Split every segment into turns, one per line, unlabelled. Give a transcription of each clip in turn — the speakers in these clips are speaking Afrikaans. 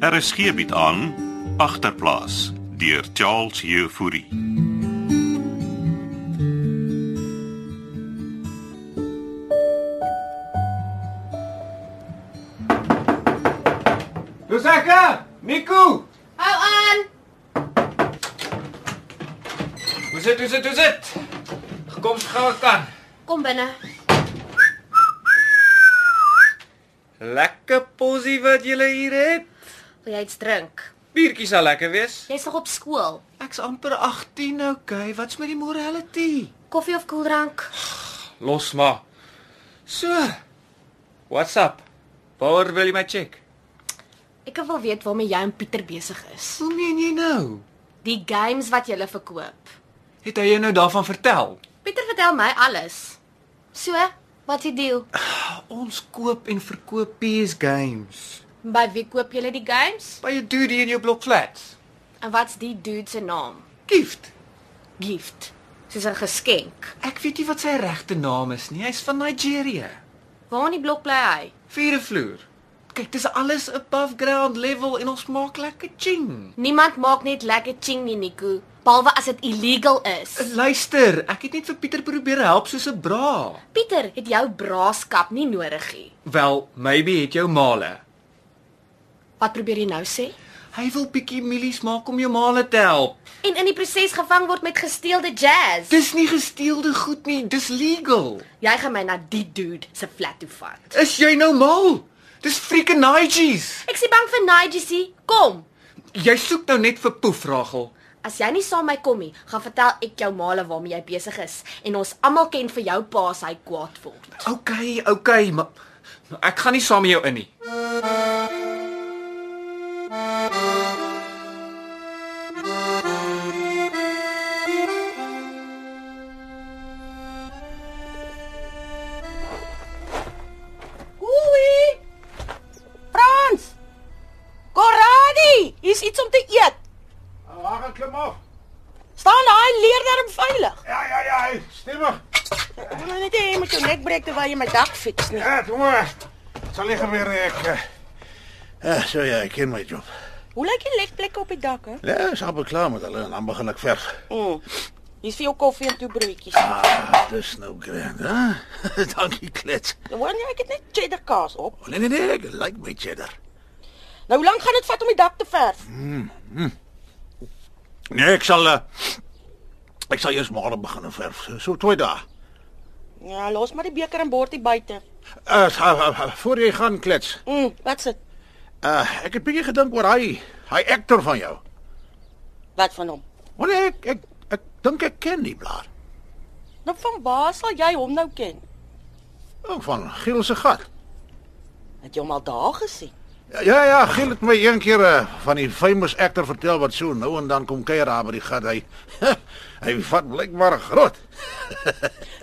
Er is geebiet aan agterplaas deur Charles Jefouri.
Lusaka, Nico.
Hou aan.
Hoe sit, hoe sit, hoe sit? Gekom so gou ek kan.
Kom binne.
Lekker posie wat jy hier het.
Wil jy iets drink?
Biertjie sal lekker wees.
Jy's nog op skool.
Ek's amper 18, okay. Wat's met die morality?
Koffie of koeldrank?
Los maar. So. What's up? Waar wil jy my check?
Ek wil weet waarmee jy en Pieter besig is.
Hoe meen jy nou?
Die games wat jy verkoop.
Het hy jou nou daarvan vertel?
Pieter vertel my alles. So, wat is die deal?
Ah, Ons koop en verkoop PS games
By wie koop jy die games?
by 'n dude hier in jou blok flats.
En wat's die dude se naam?
Gift.
Gift. Soos 'n geskenk.
Ek weet nie wat sy regte naam is nie. Hy's van Nigeria.
Waar in die blok bly hy?
Vierde vloer. Kyk, dis alles above ground level en ons maak lekker ching.
Niemand maak net lekker ching nie, Nico, behalwe as dit illegal is.
Luister, ek het net vir Pieter probeer help soos 'n bra.
Pieter het jou braaskap nie nodig nie.
Wel, maybe het jou male.
Wat probeer jy nou sê?
Hy wil bietjie milies maak om jou male te help.
En in die proses gevang word met gesteelde jazz.
Dis nie gesteelde goed nie, dis legal.
Jy gaan my na die dude se flat toe vat.
Is jy nou mal? Dis freaking Nigerians.
Ek is bang vir Nigel. Kom.
Jy soek nou net vir poef, Ragel.
As jy nie saam my kom nie, gaan vertel ek jou maale waarmee jy besig is en ons almal ken vir jou pa as hy kwaad word.
Okay, okay, maar maar ek gaan nie saam met jou in nie.
Oei! Frans! Corradi, is iets om te eet.
Waar gaan Ah, klim af?
Staan daai leerderm veilig.
Ja, ja, ja, hy is stemmig.
Ek wil nou net hê jy moet jou nek breek terwyl jy my dak fiks nie.
Ja, jongen. Zal liggen weer ik. Ja, zo ja, ik ken mijn job.
Hoe lyk die lekplekke op die dak hè?
Ja, is amper klaar met hulle en dan begin ek verf.
Mm. Hier's vir jou koffie en toe broodjies.
Ah, dis nou grand, hè? Dankie klets.
Hoor jy ek het net cheddar kaas op.
Oh, nee nee nee, ek like my cheddar.
Nou hoe lank gaan dit vat om die dak te verf?
Nee, ek sal eh, ek sal eers môre begin verf. So, so twee dae.
Ja, los maar die beker en bordie buite.
Uh, ha, ha, ha, voor jy gaan klets.
Mm, wat sit?
Uh, ek het bietjie gedink oor hy, hy akteur van jou.
Wat van hom?
Want ek ek ek dink ek ken die blaar.
Nou van waar sal jy hom nou ken?
Oh, van Giel se gat.
Het jy hom al daar gesien?
Ja ja, Giel het my een keer eh, van die famous actor vertel wat so nou en dan kom kuier daar by die gat. Hy hy vat blykbaar groot.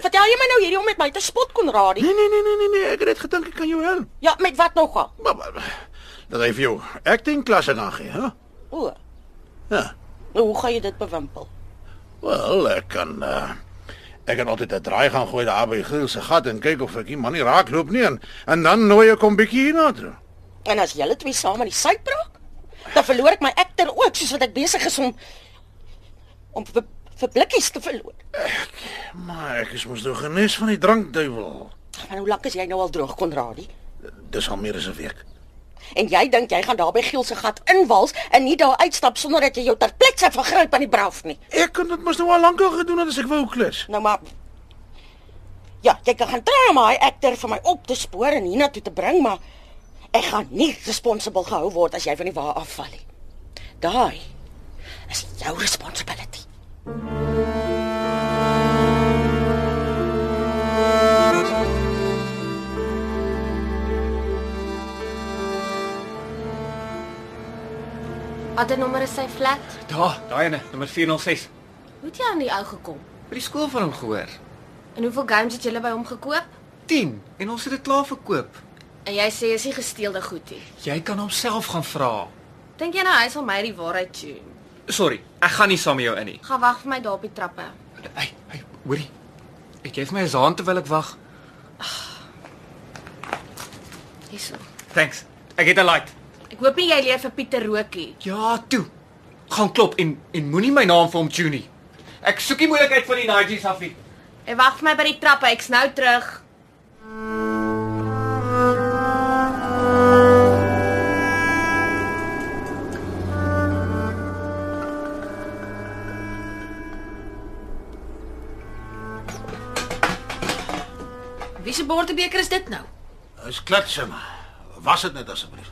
Vertel jy my nou hierdie om met my te spot Conradi?
Nee nee nee nee nee, nee. ek het net gedink ek kan jou help.
Ja, met wat nou gaan?
Maar, maar maar, dat hy vir jou acting klasse gaan gee, hè?
O,
Ja.
nou hoe gaan jy dit bewimpel?
Wel, ek kan uh, ek kan altyd 'n draai gaan gooi daar by Giel se gat en kyk of ek die man nie raakloop nie en, en dan nooi ek hom bietjie hiernatoe.
En as julle twee saam aan die suid braak, dan verloor ek my ekter ook, soos wat ek besig is om om vir, vir blikkies te verloor.
Maar ek is mos nou genees van die drankduiwel.
Maar hoe lank is jy nou al droog, Konradi?
Dis al meer as 'n week.
En jy dink jy gaan daar by Giel se gat inwals en nie daar uitstap sonder dat jy jou ter plekke vergryp aan die braaf nie.
Ek kon dit mos nou al lank al gedoen het as ek wou klus.
Nou maar Ja, jy kan gaan probeer om hy ekter vir my op te spoor en hiernatoe te bring, maar ek gaan nie responsible gehou word as jy van die wa afval nie. Daai is jou responsibility.
Wat 'n nommer is sy flat?
Daar, daai ene, nommer 406.
Hoe het jy aan die ou gekom?
By die skool van hom gehoor.
En hoeveel games het jy by hom gekoop?
10 en ons het dit klaar verkoop.
En jy sê is nie gesteelde goed nie.
Jy kan homself gaan vra.
Dink jy nou hy sal my die waarheid tune?
Sorry, ek gaan nie saam met jou in nie.
Gaan wag vir my daar op die trappe.
Hey, hey, hoorie. Ek gee vir my 'n hand terwyl ek wag.
Hierso.
Thanks. Ek het 'n light.
Ek hoop nie jy leer vir Pieter roekie.
Ja, toe. Gaan klop en en moenie my naam vir hom tune nie. Ek soek die moeilikheid van die Nigis af nie.
Hy wag vir my by die trappe. Ek's nou terug.
Wie se bordebeker is dit nou?
Is klitse maar. Was dit net asseblief.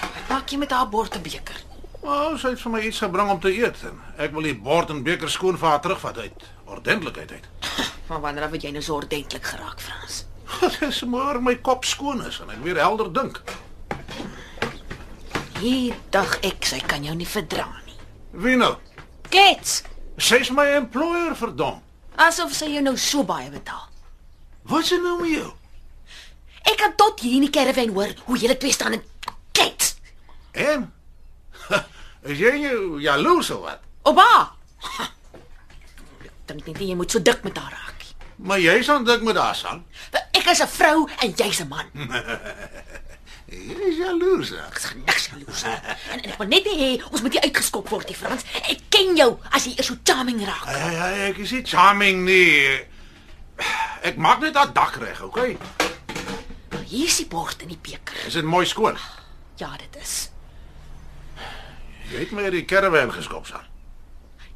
Wat maak jy met haar bordebeker?
Maar sy het vir my iets gebring om te eet en ek wil die bord en beker skoon vir haar terugvat uit ordentlikheid uit.
Van wanneer af het jy nou so ordentlik geraak, Frans?
Dis maar my kop skoon is en ek weer helder dink.
Hier dag ek, sy kan jou nie verdra nie.
Wie nou?
Kets,
Sy's my employer verdom.
asof sy jou nou so baie betaal.
Wat is nou met jou?
Ek kan tot hier in die caravan hoor hoe julle twee staan en kets.
En? Is jy nou jaloers of wat?
Op haar. Ha. Dink net nie jy moet so dik met haar raak nie.
Maar jy staan dik met haar sang.
Wel, Ek is 'n vrou en jy's 'n man.
Jy is jaloers. hè?
Ek's niks jaloers nie. En, en ek wil net nie hê ons moet jy uitgeskop word, die Frans. Ek ken jou as jy eers so charming raak.
Ai ai ai, ek is nie charming nie. Ek maak net haar dak reg, okay?
Hier's die bord in die beker.
Is dit mooi skoon?
Ja, dit is.
Jy het my uit die caravan geskop, San.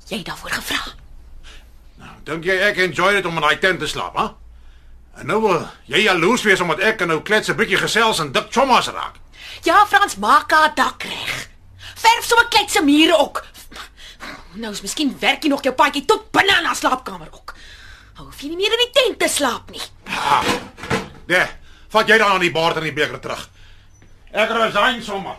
Jy het daarvoor gevra.
Nou, dink jy ek enjoy dit om in daai tent te slaap, hè? En nou wil jy jaloers wees omdat ek kan nou klets 'n bietjie gesels en dik chommas raak.
Ja, Frans, maak haar dak reg. Verf sommer kletse mure ook. Nou is miskien werk jy nog jou paadjie tot binne in haar slaapkamer ook. Hou hoef jy nie meer in die tent te slaap nie.
Nee, vat jy dan aan die bord en die beker terug. Ek resign sommer.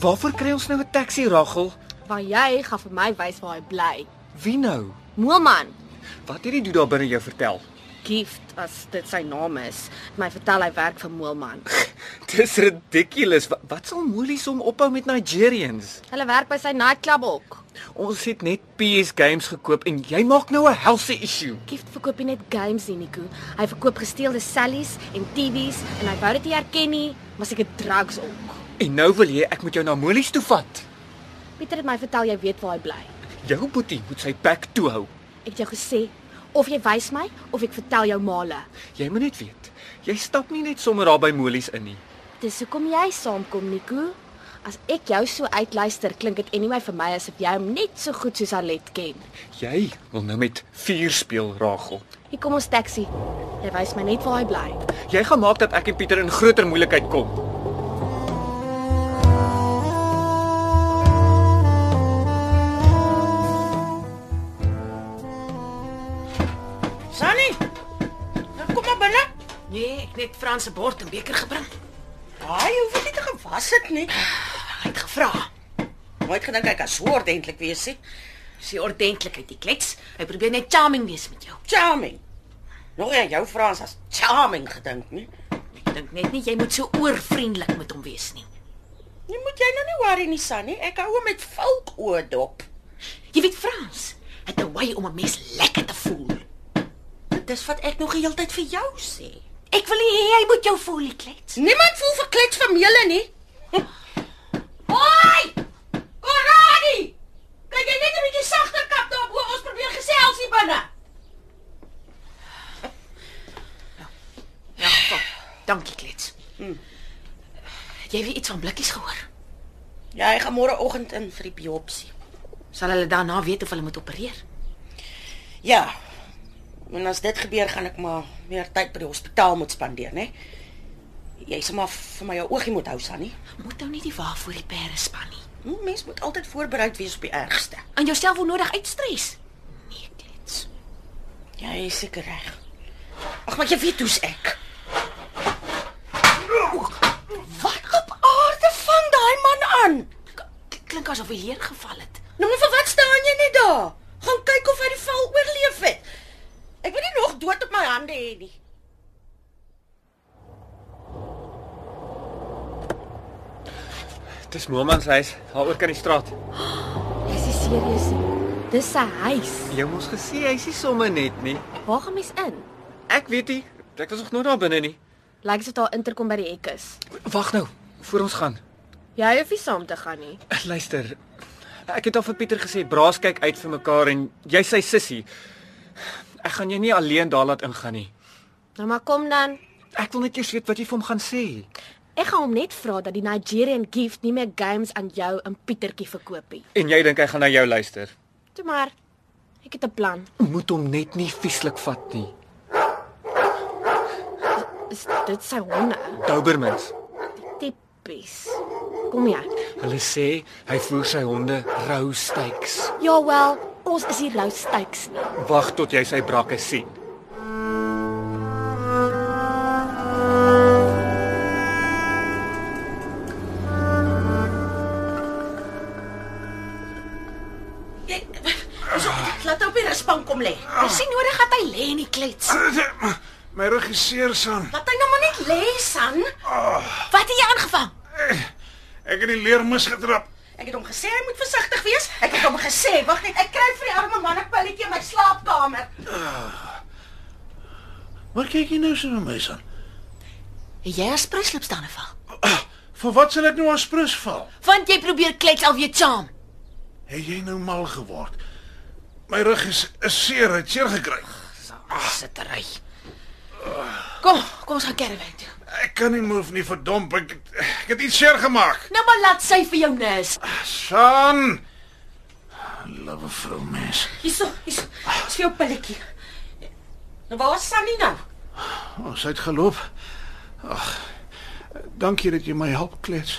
Waarvoor kry ons nou 'n taxi, Rachel?
Want jy gaan vir my wys waar hy bly.
Wie nou?
Moelman,
Wat het die dude daar binne jou vertel?
Gift as dit sy naam is, het my vertel hy werk vir Moelman.
Dis ridiculous. Wat, wat sal Moelies hom ophou met Nigerians?
Hulle werk by sy nightclub ook.
Ons het net PS games gekoop en jy maak nou 'n helse issue.
Gift verkoop nie net games nie, Nico. Hy verkoop gesteelde sellies en TV's en hy wou dit nie herken nie, maar seker drugs ook.
En nou wil jy ek moet jou na Moelies toe vat.
Pieter het my vertel jy weet waar hy bly.
Jou boetie moet sy bek toe hou.
Ek het jou gesê, of jy wys my of ek vertel jou male.
Jy moet net weet, jy stap nie net sommer daar by Molies in nie.
Dis hoekom jy saamkom, Nico. As ek jou so uitluister, klink dit anyway vir my asof jy hom net so goed soos Alet ken.
Jy wil nou met vuur speel, Ragel.
Hier kom ons taxi. Jy wys my net waar hy bly.
Jy gaan maak dat ek en Pieter in groter moeilikheid kom.
Sunny. Nou kom maar binne.
Nee, ek net Frans se bord en beker gebring.
Haai, jy hoef dit nie te gewas het nie.
Hy het gevra.
Nooit gedink ek kan so ordentlik wees nie.
Sy ordentlikheid, die klets. Hy probeer net charming wees met jou.
Charming. Nog aan jou Frans as charming gedink nie.
Ek dink net nie jy moet so oorvriendelik met hom wees nie.
Nee, moet jy nou nie worry nie, Sunny. Ek hou hom met valk oordop.
Jy weet Frans, het 'n wy om 'n mens lekker te voel.
Dis wat ek nog die hele tyd vir jou sê.
Ek wil nie hê hy moet jou voel, die klets.
Niemand voel verklets vir julle nie.
Hoi!
Korani! Kan jy net 'n bietjie sagter kap daarop hoe ons probeer gesels hier binne?
Ja, kom. Dankie, klets.
Hmm.
Het Jy het iets van blikkies gehoor.
Ja, ek gaan môreoggend in vir die biopsie.
Sal hulle daarna weet of hulle moet opereer?
Ja. En as dit gebeur, gaan ek maar meer tyd by die hospitaal moet spandeer, né? Jy sê maar vir my jou oogie moet hou, Sunny.
Moet nou nie die wa voor die pere span nie.
Hm, Mens moet altyd voorbereid wees op die ergste.
Aan jouself onnodig uitstres. Nee, klets.
Jy is seker reg. Ag, maar jy weet hoe's ek. Wat op aarde vang daai man aan?
K- Klink asof hy leer geval het.
Nou maar vir wat staan jy net daar? Gaan kyk of hy die val oorleef het. Ek wil nie nog dood op my hande hê nie.
Dis Momans huis, daaroor kan die straat.
Is jy serieus? Dis sy huis.
Jy moes gesê hy's nie sommer net nie.
Waar gaan mens in?
Ek weet nie. Ek was nog nooit daar binne nie.
Lyk asof daar interkom by die hek is.
Wag nou, voor ons gaan.
Jy hoef nie saam te gaan nie.
Luister. Ek het al vir Pieter gesê, "Braas kyk uit vir mekaar en jy sy sussie. Ek gaan jou nie alleen daar laat ingaan nie.
Nou maar kom dan.
Ek wil net eers weet wat jy vir hom gaan sê."
Ek gaan hom net vra dat die Nigerian Gift nie meer games aan jou en Pietertjie verkoop nie.
En jy dink hy gaan na jou luister?
Toe maar. Ek het 'n plan.
Moet hom net nie vieslik vat nie.
Is dit sy honde?
Dobermans.
Tipies. Kom hier.
Hulle sê hy voer sy honde rou steaks.
Ja wel, ons is hier rou steaks nie.
Wag tot jy sy brakke sien.
Jy so, laat hom op die rusbank kom lê. Ons sien nodig dat hy lê en nie klets.
My regisseur son.
Laat hy nou maar net lê, San. Wat het jy aangevang?
Ek het die leermis getrap.
Ek het hom gesê hy moet versigtig wees. Ek het hom gesê, wag net, ek kry vir die arme man 'n pilletjie in my slaapkamer.
Maar kyk jy nou so na my son.
Het jy as pryslips dan afval?
Vir wat sal ek nou as prins val?
Want jy probeer klets al weer charm.
Het jy nou mal geword? My rug is is seer, het seer gekry.
Sittery. Kom, kom ons gaan caravan toe.
Ek kan nie move nie, verdomp. Ek ek het iets seer gemaak.
Nou maar laat sy vir jou nus.
Son. Love vrou mens.
Hierso, hierso. Dis vir jou pilletjie. Nou waar is Sunny nou?
Ons Oh, het geloop. Ag. Dankie dat jy my help klets.